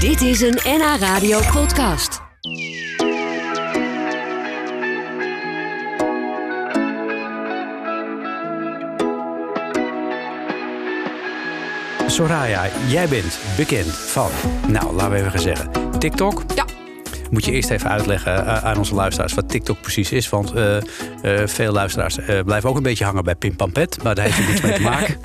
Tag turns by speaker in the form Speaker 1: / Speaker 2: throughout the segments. Speaker 1: Dit is een NH Radio podcast.
Speaker 2: Soraya, jij bent bekend van, nou laten we even gaan zeggen, TikTok.
Speaker 3: Ja.
Speaker 2: Moet je eerst even uitleggen eh, aan onze luisteraars wat TikTok precies is. Want eh, eh, veel luisteraars eh, blijven ook een beetje hangen bij Pim Pam Pet. Maar daar heeft het niks mee te maken.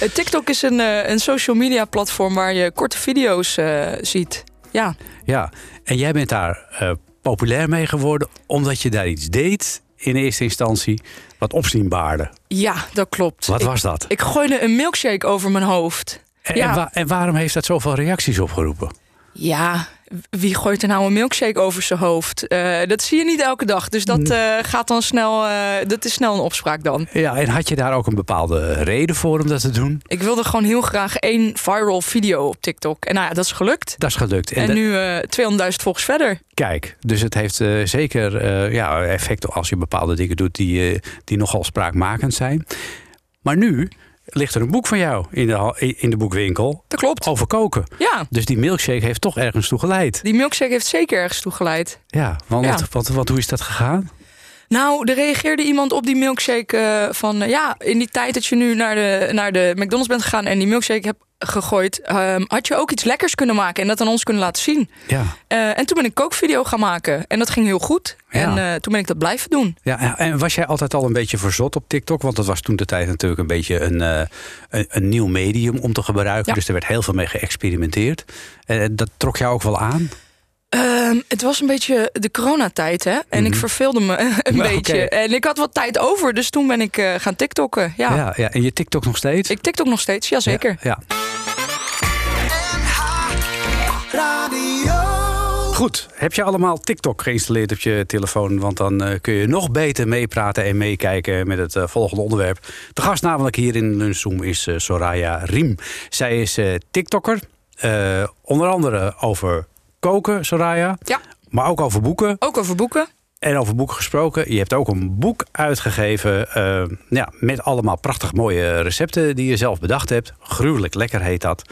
Speaker 3: Eh, TikTok is een, eh, een social media platform waar je korte video's eh, ziet. Ja,
Speaker 2: Ja, en jij bent daar eh, populair mee geworden omdat je daar iets deed in eerste instantie wat opzien baarde.
Speaker 3: ja dat klopt.
Speaker 2: Wat
Speaker 3: ik,
Speaker 2: was dat?
Speaker 3: ik gooide een milkshake over mijn hoofd.
Speaker 2: En,
Speaker 3: ja.
Speaker 2: en, wa- en waarom heeft dat zoveel reacties opgeroepen?
Speaker 3: Ja, wie gooit er nou een milkshake over zijn hoofd? Eh, dat zie je niet elke dag, dus dat eh, gaat dan snel. eh, dat is snel een opspraak dan.
Speaker 2: Ja, en had je daar ook een bepaalde reden voor om dat te doen?
Speaker 3: Ik wilde gewoon heel graag één viral video op TikTok. En nou ja, dat is gelukt.
Speaker 2: Dat is gelukt.
Speaker 3: En,
Speaker 2: dat-
Speaker 3: nu eh 200.000 volgers verder.
Speaker 2: Kijk, dus het heeft eh, zeker eh ja, effect als je bepaalde dingen doet die, eh, die nogal spraakmakend zijn. Maar nu ligt er een boek van jou in de, ha- in de boekwinkel
Speaker 3: Dat klopt.
Speaker 2: over koken.
Speaker 3: Ja,
Speaker 2: Dus die milkshake heeft toch ergens toe geleid.
Speaker 3: die milkshake heeft zeker ergens toe geleid.
Speaker 2: Ja, want,
Speaker 3: Ja.
Speaker 2: Want, want, hoe is dat gegaan?
Speaker 3: Nou, er reageerde iemand op die milkshake eh, van... eh, ja, in die tijd dat je nu naar de, naar de McDonald's bent gegaan... en die milkshake hebt gegooid... ehm, had je ook iets lekkers kunnen maken en dat aan ons kunnen laten zien.
Speaker 2: Ja.
Speaker 3: Eh, en toen ben ik kookvideo gaan maken. En dat ging heel goed.
Speaker 2: Ja.
Speaker 3: En eh, toen ben ik dat blijven doen.
Speaker 2: ja. en- En was jij altijd al een beetje verzot op TikTok? Want dat was toen de tijd natuurlijk een beetje een, eh, een, een nieuw medium om te gebruiken.
Speaker 3: Ja.
Speaker 2: Dus er werd heel veel mee geëxperimenteerd. En dat trok jou ook wel aan?
Speaker 3: Ehm, het was een beetje de coronatijd, hè? En ik verveelde me een
Speaker 2: Nou,
Speaker 3: beetje.
Speaker 2: Mhm. oké.
Speaker 3: En ik had wat tijd over, dus toen ben ik eh, gaan tiktokken. Ja.
Speaker 2: ja, ja. En je TikTok nog steeds?
Speaker 3: Ik tiktok nog steeds, jazeker.
Speaker 2: Ja. ja. Goed, heb je allemaal TikTok geïnstalleerd op je telefoon? Want dan eh, kun je nog beter meepraten en meekijken met het eh, volgende onderwerp. De gast namelijk hier in Lunchroom is eh, Soraya Riem. Zij is eh TikTokker, eh, onder andere over koken, Soraya.
Speaker 3: Ja.
Speaker 2: Maar ook over boeken.
Speaker 3: Ook over boeken.
Speaker 2: En over boeken gesproken, je hebt ook een boek uitgegeven eh, ja, met allemaal prachtig mooie recepten die je zelf bedacht hebt. Gruwelijk lekker heet dat.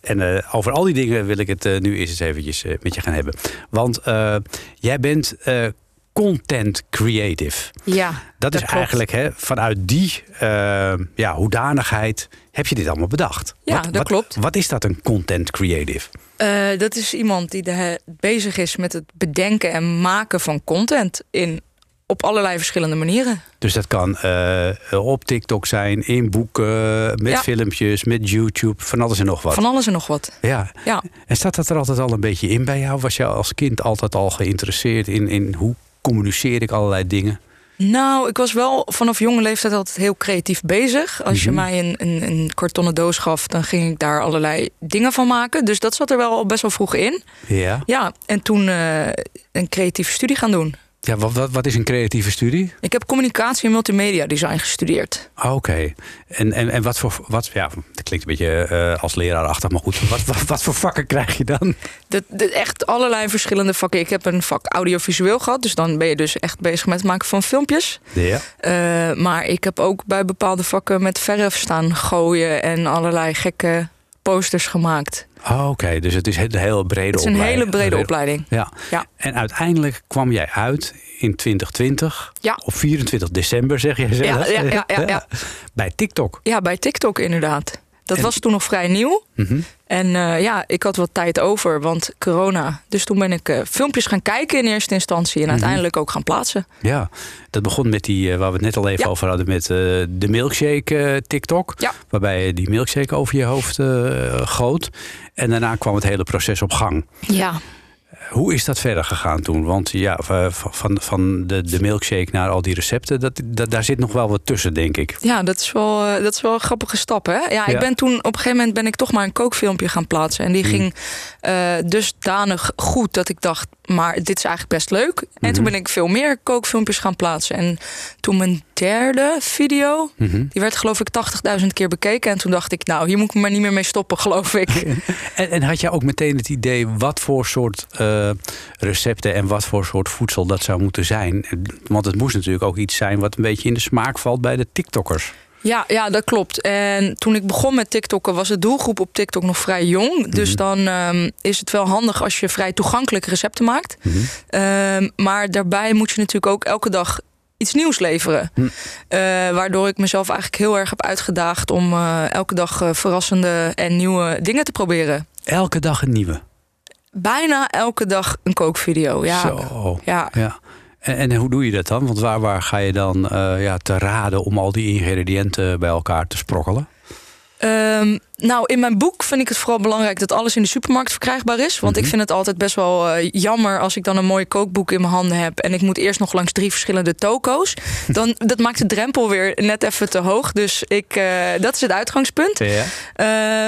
Speaker 2: En eh, over al die dingen wil ik het eh, nu eerst eens eventjes eh, met je gaan hebben. Want eh, jij bent eh, content creative.
Speaker 3: Ja,
Speaker 2: Dat, is
Speaker 3: klopt.
Speaker 2: eigenlijk hè, vanuit die eh, ja, hoedanigheid heb je dit allemaal bedacht.
Speaker 3: Ja, dat klopt.
Speaker 2: Wat is dat een content creative?
Speaker 3: Eh, dat is iemand die de, bezig is met het bedenken en maken van content in, op allerlei verschillende manieren.
Speaker 2: Dus dat kan eh, op TikTok zijn, in boeken, met
Speaker 3: Ja.
Speaker 2: filmpjes, met YouTube, van alles en nog wat.
Speaker 3: Van alles en nog wat.
Speaker 2: Ja.
Speaker 3: Ja.
Speaker 2: En staat dat er altijd al een beetje in bij jou? Was jij als kind altijd al geïnteresseerd in, in hoe communiceer ik allerlei dingen?
Speaker 3: Nou, ik was wel vanaf jonge leeftijd altijd heel creatief bezig. Als je mij een, een, een kartonnen doos gaf, dan ging ik daar allerlei dingen van maken. Dus dat zat er wel al best wel vroeg in.
Speaker 2: Ja.
Speaker 3: Ja, en toen eh, een creatieve studie gaan doen.
Speaker 2: ja wat, wat, wat is een creatieve studie?
Speaker 3: Ik heb communicatie en multimedia design gestudeerd.
Speaker 2: Ah, Oké. En, en, en wat voor. Wat, ja, dat klinkt een beetje eh, als leraarachtig, maar goed. Wat, wat, wat voor vakken krijg je dan?
Speaker 3: Dat, dat- echt allerlei verschillende vakken. Ik heb een vak audiovisueel gehad, dus dan ben je dus echt bezig met het maken van filmpjes.
Speaker 2: Ja.
Speaker 3: Eh, maar ik heb ook bij bepaalde vakken met verf staan gooien en allerlei gekke posters gemaakt.
Speaker 2: Ah, Oké, dus het is een heel brede
Speaker 3: Het is een hele brede opleiding.
Speaker 2: Ja.
Speaker 3: Ja.
Speaker 2: En uiteindelijk kwam jij uit in 2020.
Speaker 3: Ja.
Speaker 2: Op 24 december, zeg jij zelf.
Speaker 3: Ja, ja, ja, ja, ja.
Speaker 2: Bij TikTok.
Speaker 3: Ja, bij TikTok inderdaad. Dat
Speaker 2: En-
Speaker 3: was toen nog vrij nieuw.
Speaker 2: Mhm.
Speaker 3: En eh, ja, ik had wat tijd over, want corona. Dus toen ben ik eh, filmpjes gaan kijken in eerste instantie. En uiteindelijk ook gaan plaatsen.
Speaker 2: Ja, dat begon met die eh, waar we het net al even
Speaker 3: Ja.
Speaker 2: over hadden met eh, de milkshake eh, TikTok.
Speaker 3: Ja.
Speaker 2: Waarbij je die milkshake over je hoofd eh, goot. En daarna kwam het hele proces op gang.
Speaker 3: Ja,
Speaker 2: Hoe is dat verder gegaan toen? Want ja, eh, v- van, van de, de milkshake naar al die recepten, dat, dat, daar zit nog wel wat tussen, denk ik.
Speaker 3: Ja, dat is wel, eh, dat is wel een grappige stap, hè? Ja,
Speaker 2: Ja.
Speaker 3: ik ben toen op een gegeven moment ben ik toch maar een kookfilmpje gaan plaatsen. En die ging eh, dusdanig goed dat ik dacht, maar dit is eigenlijk best leuk. En toen ben ik veel meer kookfilmpjes gaan plaatsen. En toen mijn derde video, die werd geloof ik 80.000 keer bekeken. En toen dacht ik, nou, hier moet ik me maar niet meer mee stoppen, geloof ik.
Speaker 2: En, en had jij ook meteen het idee wat voor soort eh, recepten en wat voor soort voedsel dat zou moeten zijn? Want het moest natuurlijk ook iets zijn wat een beetje in de smaak valt bij de TikTokkers.
Speaker 3: Ja, ja, dat klopt. En toen ik begon met TikTokken was de doelgroep op TikTok nog vrij jong. Dus dan ehm, is het wel handig als je vrij toegankelijke recepten maakt. Ehm, maar daarbij moet je natuurlijk ook elke dag iets nieuws leveren. Eh, waardoor ik mezelf eigenlijk heel erg heb uitgedaagd om eh, elke dag eh, verrassende en nieuwe dingen te proberen.
Speaker 2: Elke dag een nieuwe.
Speaker 3: Bijna elke dag een kookvideo. Ja,
Speaker 2: Zo.
Speaker 3: ja.
Speaker 2: Ja. En, en hoe doe je dat dan? Want waar, waar ga je dan eh, ja, te raden om al die ingrediënten bij elkaar te sprokkelen?
Speaker 3: Ehm, nou, in mijn boek vind ik het vooral belangrijk dat alles in de supermarkt verkrijgbaar is. Want ik vind het altijd best wel eh, jammer als ik dan een mooi kookboek in mijn handen heb. en ik moet eerst nog langs drie verschillende toko's. Dan, dat maakt de drempel weer net even te hoog. Dus ik, eh, dat is het uitgangspunt.
Speaker 2: Ja.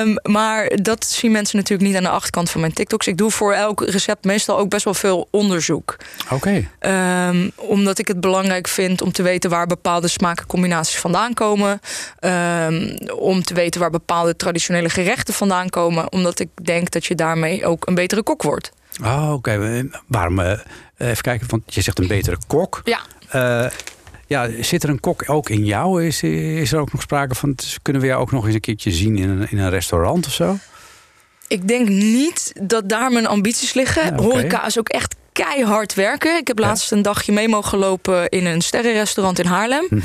Speaker 3: Ehm, maar dat zien mensen natuurlijk niet aan de achterkant van mijn TikToks. Ik doe voor elk recept meestal ook best wel veel onderzoek.
Speaker 2: Oké.
Speaker 3: Ehm, omdat ik het belangrijk vind om te weten waar bepaalde smakencombinaties vandaan komen. Ehm, om te weten waar bepaalde traditionele gerechten vandaan komen. Omdat ik denk dat je daarmee ook een betere kok wordt.
Speaker 2: Oh, oké. Maar Waarom? eh, even kijken, want je zegt een betere kok.
Speaker 3: Ja.
Speaker 2: Eh, ja, zit er een kok ook in jou? Is, is er ook nog sprake van, t- kunnen we jou ook nog eens een keertje zien in een, in een restaurant of zo?
Speaker 3: Ik denk niet dat daar mijn ambities liggen.
Speaker 2: Ja, oké.
Speaker 3: Horeca is ook echt keihard werken. Ik heb laatst een dagje mee mogen lopen in een sterrenrestaurant in Haarlem.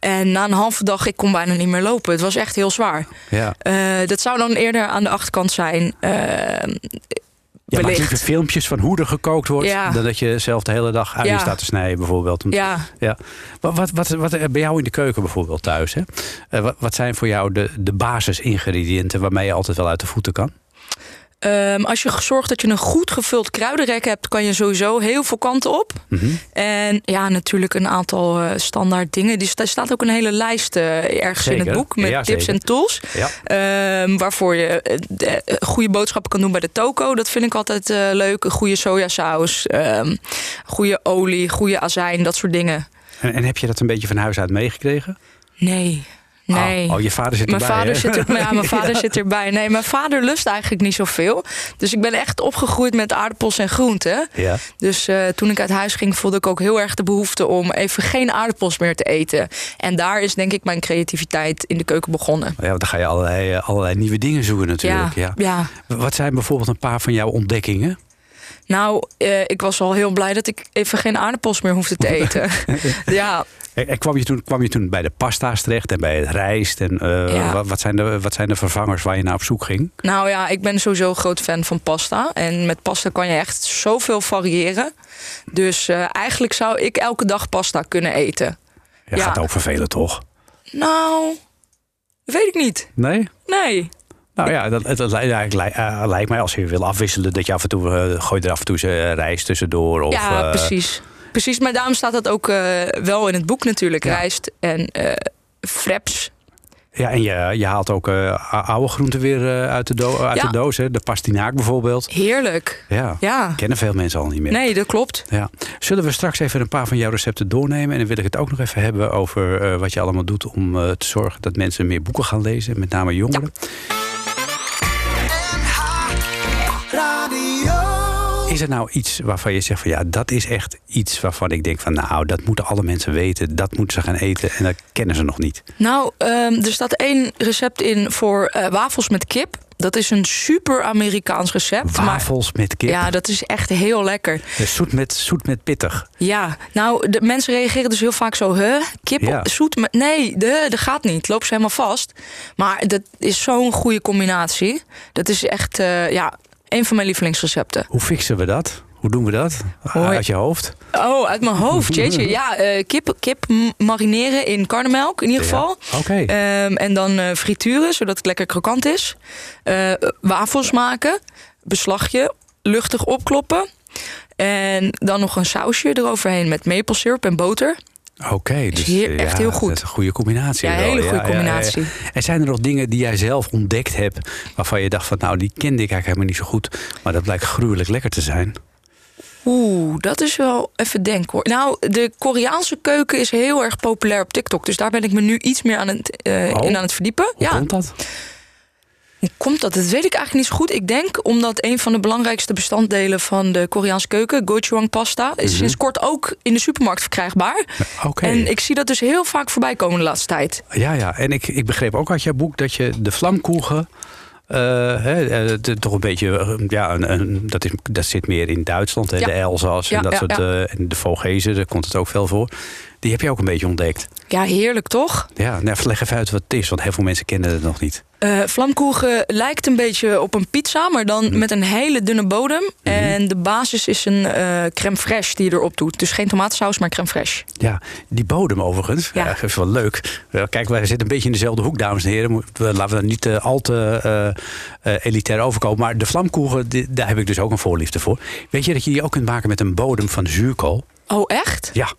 Speaker 3: En na een halve dag, ik kon bijna niet meer lopen. Het was echt heel zwaar.
Speaker 2: Ja.
Speaker 3: Eh, dat zou dan eerder aan de achterkant zijn. Eh,
Speaker 2: Je maakt
Speaker 3: wellicht.
Speaker 2: liever filmpjes van hoe er gekookt wordt...
Speaker 3: Ja.
Speaker 2: dan dat je zelf de hele dag uien
Speaker 3: Ja.
Speaker 2: staat te snijden bijvoorbeeld. Om-
Speaker 3: ja,
Speaker 2: Ja. Wat, wat, wat, wat er bij jou in de keuken bijvoorbeeld thuis, hè? Eh, wat, wat zijn voor jou de, de basisingrediënten... waarmee je altijd wel uit de voeten kan?
Speaker 3: Ehm, als je zorgt dat je een goed gevuld kruidenrek hebt, kan je sowieso heel veel kanten op.
Speaker 2: Mhm.
Speaker 3: En ja, natuurlijk een aantal eh, standaard dingen. Die- Er staat ook een hele lijst eh, ergens in
Speaker 2: Zeker.
Speaker 3: het boek met
Speaker 2: Ja,
Speaker 3: tips
Speaker 2: zeker.
Speaker 3: en tools.
Speaker 2: Ja.
Speaker 3: Ehm, waarvoor je eh, de- eh, goede boodschappen kan doen bij de toko. Dat vind ik altijd eh, leuk. Een goede sojasaus, ehm, goede olie, goede azijn, dat soort dingen.
Speaker 2: En, en heb je dat een beetje van huis uit meegekregen?
Speaker 3: Nee, nee.
Speaker 2: Oh, oh, je vader zit
Speaker 3: Mijn
Speaker 2: erbij,
Speaker 3: vader,
Speaker 2: hè?
Speaker 3: zit er, ja, mijn vader zit erbij. Nee, mijn vader lust eigenlijk niet zoveel. Dus ik ben echt opgegroeid met aardappels en groenten.
Speaker 2: Ja.
Speaker 3: Dus eh, toen ik uit huis ging, voelde ik ook heel erg de behoefte om even geen aardappels meer te eten. En daar is denk ik mijn creativiteit in de keuken begonnen.
Speaker 2: Ja, want dan ga je allerlei, eh, allerlei nieuwe dingen zoeken natuurlijk. Ja.
Speaker 3: ja. ja.
Speaker 2: Wat zijn bijvoorbeeld een paar van jouw ontdekkingen?
Speaker 3: Nou, eh, ik was al heel blij dat ik even geen aardappels meer hoefde te eten. ja,
Speaker 2: En, en kwam, je toen, kwam je toen bij de pasta's terecht en bij het rijst? En eh,
Speaker 3: Ja.
Speaker 2: wat, wat, zijn de, wat zijn de vervangers waar je naar op zoek ging?
Speaker 3: Nou ja, ik ben sowieso een groot fan van pasta. En met pasta kan je echt zoveel variëren. Dus eh, eigenlijk zou ik elke dag pasta kunnen eten.
Speaker 2: Ja,
Speaker 3: Ja.
Speaker 2: gaat ook vervelen, toch?
Speaker 3: Nou, dat weet ik niet.
Speaker 2: Nee?
Speaker 3: Nee.
Speaker 2: Nou ja, dat, het, het lijkt, eigenlijk- li- eh, lijkt mij als je wil afwisselen... dat je af en toe eh, gooit er af en toe eh, rijst tussendoor. Of,
Speaker 3: ja,
Speaker 2: eh,
Speaker 3: precies. Precies, maar daarom staat dat ook eh, wel in het boek natuurlijk.
Speaker 2: Ja.
Speaker 3: Rijst en eh fraps.
Speaker 2: Ja, en je, je haalt ook eh, ou- oude groenten weer eh, uit, de, do- uit
Speaker 3: Ja.
Speaker 2: de doos. Hè? De pastinaak bijvoorbeeld.
Speaker 3: Heerlijk.
Speaker 2: Ja,
Speaker 3: Ja.
Speaker 2: kennen veel mensen al niet meer.
Speaker 3: Nee, dat klopt.
Speaker 2: Ja. Zullen we straks even een paar van jouw recepten doornemen? En dan wil ik het ook nog even hebben over eh, wat je allemaal doet om eh, te zorgen dat mensen meer boeken gaan lezen, met name jongeren. Is er nou iets waarvan je zegt van ja, dat is echt iets waarvan ik denk van nou, dat moeten alle mensen weten, dat moeten ze gaan eten en dat kennen ze nog niet.
Speaker 3: Nou, ehm, er staat één recept in voor eh, wafels met kip. Dat is een super Amerikaans recept. maar-
Speaker 2: Wafels met kip,
Speaker 3: Ja, dat is echt heel lekker.
Speaker 2: Eh, zoet, met, zoet met pittig.
Speaker 3: Ja, nou, de mensen reageren dus heel vaak zo, huh, kip
Speaker 2: Ja.
Speaker 3: op- zoet met... Nee, de, dat gaat niet, loopt ze helemaal vast. Maar dat is zo'n goede combinatie. Dat is echt, eh, ja, een van mijn lievelingsrecepten.
Speaker 2: Hoe fixen we dat? Hoe doen we dat? Ah,
Speaker 3: Hoi.
Speaker 2: Uit je hoofd?
Speaker 3: Oh, uit mijn hoofd, jeetje. Ja, eh, kip, kip m- marineren in karnemelk in ieder geval.
Speaker 2: Ja. Oké.
Speaker 3: Ehm, en dan eh, frituren, zodat het lekker krokant is. Eh, wafels maken, beslagje, luchtig opkloppen. En dan nog een sausje eroverheen met maplesirup en boter.
Speaker 2: Oké, dus
Speaker 3: hier echt heel goed.
Speaker 2: Dat is een goede combinatie.
Speaker 3: Ja,
Speaker 2: wel.
Speaker 3: hele goede
Speaker 2: ja, ja.
Speaker 3: combinatie.
Speaker 2: En zijn er nog dingen die jij zelf ontdekt hebt waarvan je dacht van nou die kende ik eigenlijk helemaal niet zo goed, maar dat blijkt gruwelijk lekker te zijn?
Speaker 3: Oeh, dat is wel even denken hoor. Nou, de Koreaanse keuken is heel erg populair op TikTok. Dus daar ben ik me nu iets meer aan het, eh,
Speaker 2: Oh.
Speaker 3: in aan het verdiepen.
Speaker 2: Hoe
Speaker 3: ja.
Speaker 2: komt dat?
Speaker 3: Hoe komt dat? Dat weet ik eigenlijk niet zo goed. Ik denk omdat een van de belangrijkste bestanddelen van de Koreaanse keuken, gochujang pasta,
Speaker 2: Mhm.
Speaker 3: is sinds kort ook in de supermarkt verkrijgbaar.
Speaker 2: Oké.
Speaker 3: En ik zie dat dus heel vaak voorbij komen de laatste tijd.
Speaker 2: Ja, ja. En ik, ik begreep ook uit jouw boek dat je de vlamkoegen. eh, hè, eh, de- toch een beetje, eh, ja, een, een- dat, is, dat zit meer in Duitsland, hè,
Speaker 3: Ja.
Speaker 2: de Elzas en
Speaker 3: Ja,
Speaker 2: dat
Speaker 3: ja,
Speaker 2: soort,
Speaker 3: ja.
Speaker 2: eh, en de Vogezen, daar komt het ook veel voor. Die heb je ook een beetje ontdekt.
Speaker 3: Ja, heerlijk toch?
Speaker 2: Ja, nou, leg even uit wat het is, want heel veel mensen kennen het nog niet.
Speaker 3: Eh vlamkoegen lijkt een beetje op een pizza, maar dan met een hele dunne bodem. En de basis is een eh, crème fraîche die je erop doet. Dus geen tomatensaus, maar crème fraîche.
Speaker 2: Ja, die bodem overigens, ja.
Speaker 3: Ja.
Speaker 2: dat is wel leuk. Ja, Kijk, wij zitten een beetje in dezelfde hoek, dames en heren. Moet- we- Laten we er niet eh, al te eh, eh, elitair overkomen. Maar de vlamkoegen, die- daar heb ik dus ook een voorliefde voor. Weet je dat je die ook kunt maken met een bodem van zuurkool?
Speaker 3: Oh, echt?
Speaker 2: Ja,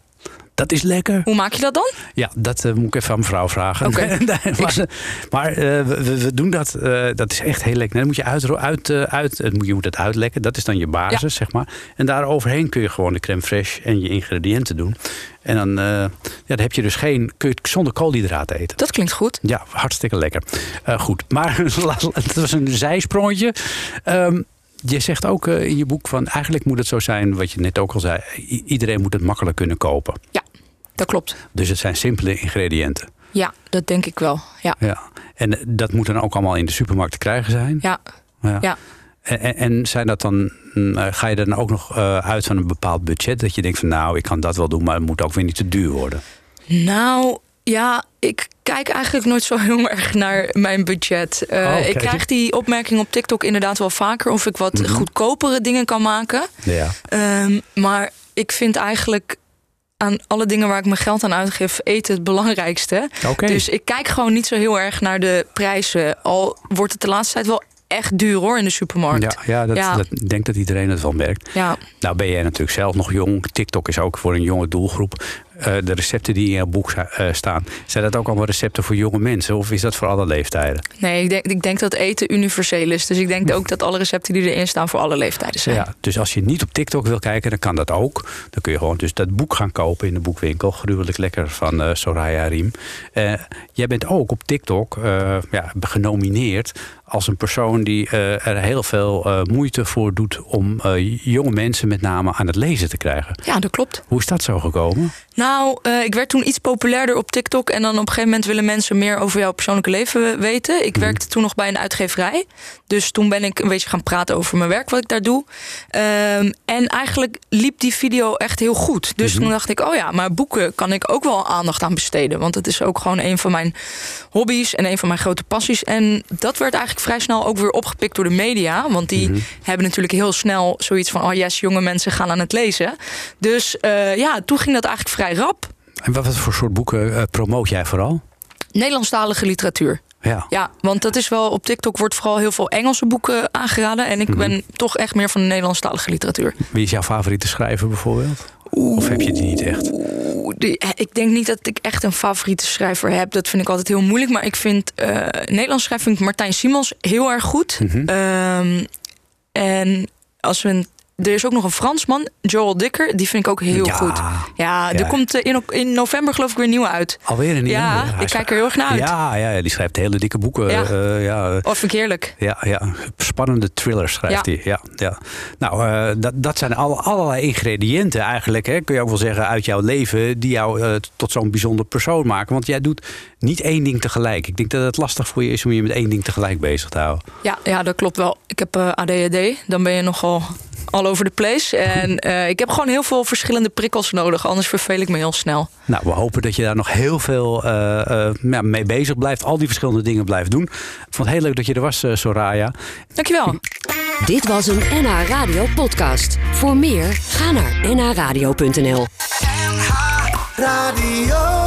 Speaker 2: dat is lekker.
Speaker 3: Hoe maak je dat dan?
Speaker 2: Ja, dat eh, moet ik even aan mevrouw vragen.
Speaker 3: Oké.
Speaker 2: Nee, maar maar eh, we, we doen dat. eh, dat is echt heel lekker. Dan moet je, uit, uit, eh, uit, het moet- je moet het uitlekken. Dat is dan je basis, zeg maar. En daar overheen kun je gewoon de crème fraîche en je ingrediënten doen. En dan, eh, ja, dan heb je dus geen... Kun je het zonder koolhydraten eten.
Speaker 3: Dat klinkt goed.
Speaker 2: Ja, hartstikke lekker. Eh, goed, maar het was een zijsprongetje. Ehm, je zegt ook eh, in je boek van... Eigenlijk moet het zo zijn, wat je net ook al zei. i- iedereen moet het makkelijk kunnen kopen.
Speaker 3: Dat klopt.
Speaker 2: Dus het zijn simpele ingrediënten.
Speaker 3: Ja, dat denk ik wel. Ja.
Speaker 2: Ja. En eh, dat moet dan ook allemaal in de supermarkt te krijgen zijn.
Speaker 3: Ja. Ja.
Speaker 2: En- En, en zijn dat dan, mm, eh, ga je dan ook nog eh, uit van een bepaald budget? Dat je denkt van nou, ik kan dat wel doen, maar het moet ook weer niet te duur worden.
Speaker 3: Nou, ja, ik kijk eigenlijk nooit zo heel erg naar mijn budget. Eh,
Speaker 2: Oh,
Speaker 3: Ik
Speaker 2: kijk.
Speaker 3: krijg die opmerking op TikTok inderdaad wel vaker... of ik wat goedkopere dingen kan maken.
Speaker 2: Ja.
Speaker 3: Ehm, maar ik vind eigenlijk aan alle dingen waar ik mijn geld aan uitgeef... eten het belangrijkste.
Speaker 2: Oké.
Speaker 3: Dus ik kijk gewoon niet zo heel erg naar de prijzen. Al wordt het de laatste tijd wel echt duur hoor in de supermarkt.
Speaker 2: ja, ja, dat,
Speaker 3: Ja.
Speaker 2: dat- ik denk dat iedereen het wel merkt.
Speaker 3: ja.
Speaker 2: Nou ben jij natuurlijk zelf nog jong. TikTok is ook voor een jonge doelgroep. Eh, de recepten die in jouw boek sta- eh, staan, zijn dat ook allemaal recepten voor jonge mensen? Of is dat voor alle leeftijden?
Speaker 3: Nee, ik denk, ik denk dat eten universeel is. Dus ik denk ook dat alle recepten die erin staan voor alle leeftijden zijn.
Speaker 2: Ja, dus als je niet op TikTok wil kijken, dan kan dat ook. Dan kun je gewoon dus dat boek gaan kopen in de boekwinkel. Gruwelijk lekker van eh, Soraya Riem. Eh, jij bent ook op TikTok eh, ja, genomineerd als een persoon die eh, er heel veel eh, moeite voor doet om eh, jonge mensen met name aan het lezen te krijgen.
Speaker 3: Ja, dat klopt.
Speaker 2: Hoe is dat zo gekomen?
Speaker 3: Nou, eh, ik werd toen iets populairder op TikTok. En dan op een gegeven moment willen mensen meer over jouw persoonlijke leven weten. Ik werkte toen nog bij een uitgeverij. Dus toen ben ik een beetje gaan praten over mijn werk, wat ik daar doe. Ehm, en eigenlijk liep die video echt heel goed. Dus toen dacht ik, oh ja, maar boeken kan ik ook wel aandacht aan besteden. Want het is ook gewoon een van mijn hobby's en een van mijn grote passies. En dat werd eigenlijk vrij snel ook weer opgepikt door de media. Want die hebben natuurlijk heel snel zoiets van, oh yes, jonge mensen gaan aan het lezen. Dus eh, ja, toen ging dat eigenlijk vrij rap.
Speaker 2: En wat, wat voor soort boeken eh, promoot jij vooral?
Speaker 3: Nederlandstalige literatuur.
Speaker 2: Ja.
Speaker 3: Ja, want dat is wel op TikTok wordt vooral heel veel Engelse boeken aangeraden. En ik ben toch echt meer van de Nederlandstalige literatuur.
Speaker 2: Wie is jouw favoriete schrijver bijvoorbeeld? Of heb je die niet echt?
Speaker 3: Oeh, die- eh, ik denk niet dat ik echt een favoriete schrijver heb. Dat vind ik altijd heel moeilijk. Maar ik vind eh Nederlands schrijver vind ik Martijn Simons heel erg goed.
Speaker 2: Mhm.
Speaker 3: Ehm, en als we een- er is ook nog een Fransman, Joel Dikker. Die vind ik ook heel
Speaker 2: Ja.
Speaker 3: goed. Ja,
Speaker 2: Ja.
Speaker 3: er komt eh, in, ok- in november geloof ik weer een nieuwe uit.
Speaker 2: Alweer een
Speaker 3: Ja,
Speaker 2: hij
Speaker 3: ik
Speaker 2: is-
Speaker 3: kijk er heel erg naar uit.
Speaker 2: Ja, ja, ja, die schrijft hele dikke boeken.
Speaker 3: Ja.
Speaker 2: eh, ja.
Speaker 3: Of vind ik heerlijk.
Speaker 2: Ja, ja, spannende thrillers schrijft
Speaker 3: Ja.
Speaker 2: hij. Ja, ja. Nou, eh, dat, dat zijn al, allerlei ingrediënten eigenlijk, hè, kun je ook wel zeggen, uit jouw leven, die jou eh, tot zo'n bijzonder persoon maken. Want jij doet niet één ding tegelijk. Ik denk dat het lastig voor je is om je met één ding tegelijk bezig te houden.
Speaker 3: Ja, ja, dat klopt wel. Ik heb eh, ADHD. Dan ben je nogal all over the place. En eh, ik heb gewoon heel veel verschillende prikkels nodig. Anders verveel ik me heel snel.
Speaker 2: Nou, we hopen dat je daar nog heel veel eh, eh, ja, mee bezig blijft. Al die verschillende dingen blijft doen. Ik vond het heel leuk dat je er was, eh, Soraya.
Speaker 3: Dankjewel.
Speaker 1: Dit was een NH Radio podcast. Voor meer, ga naar nhradio.nl.
Speaker 4: NH Radio.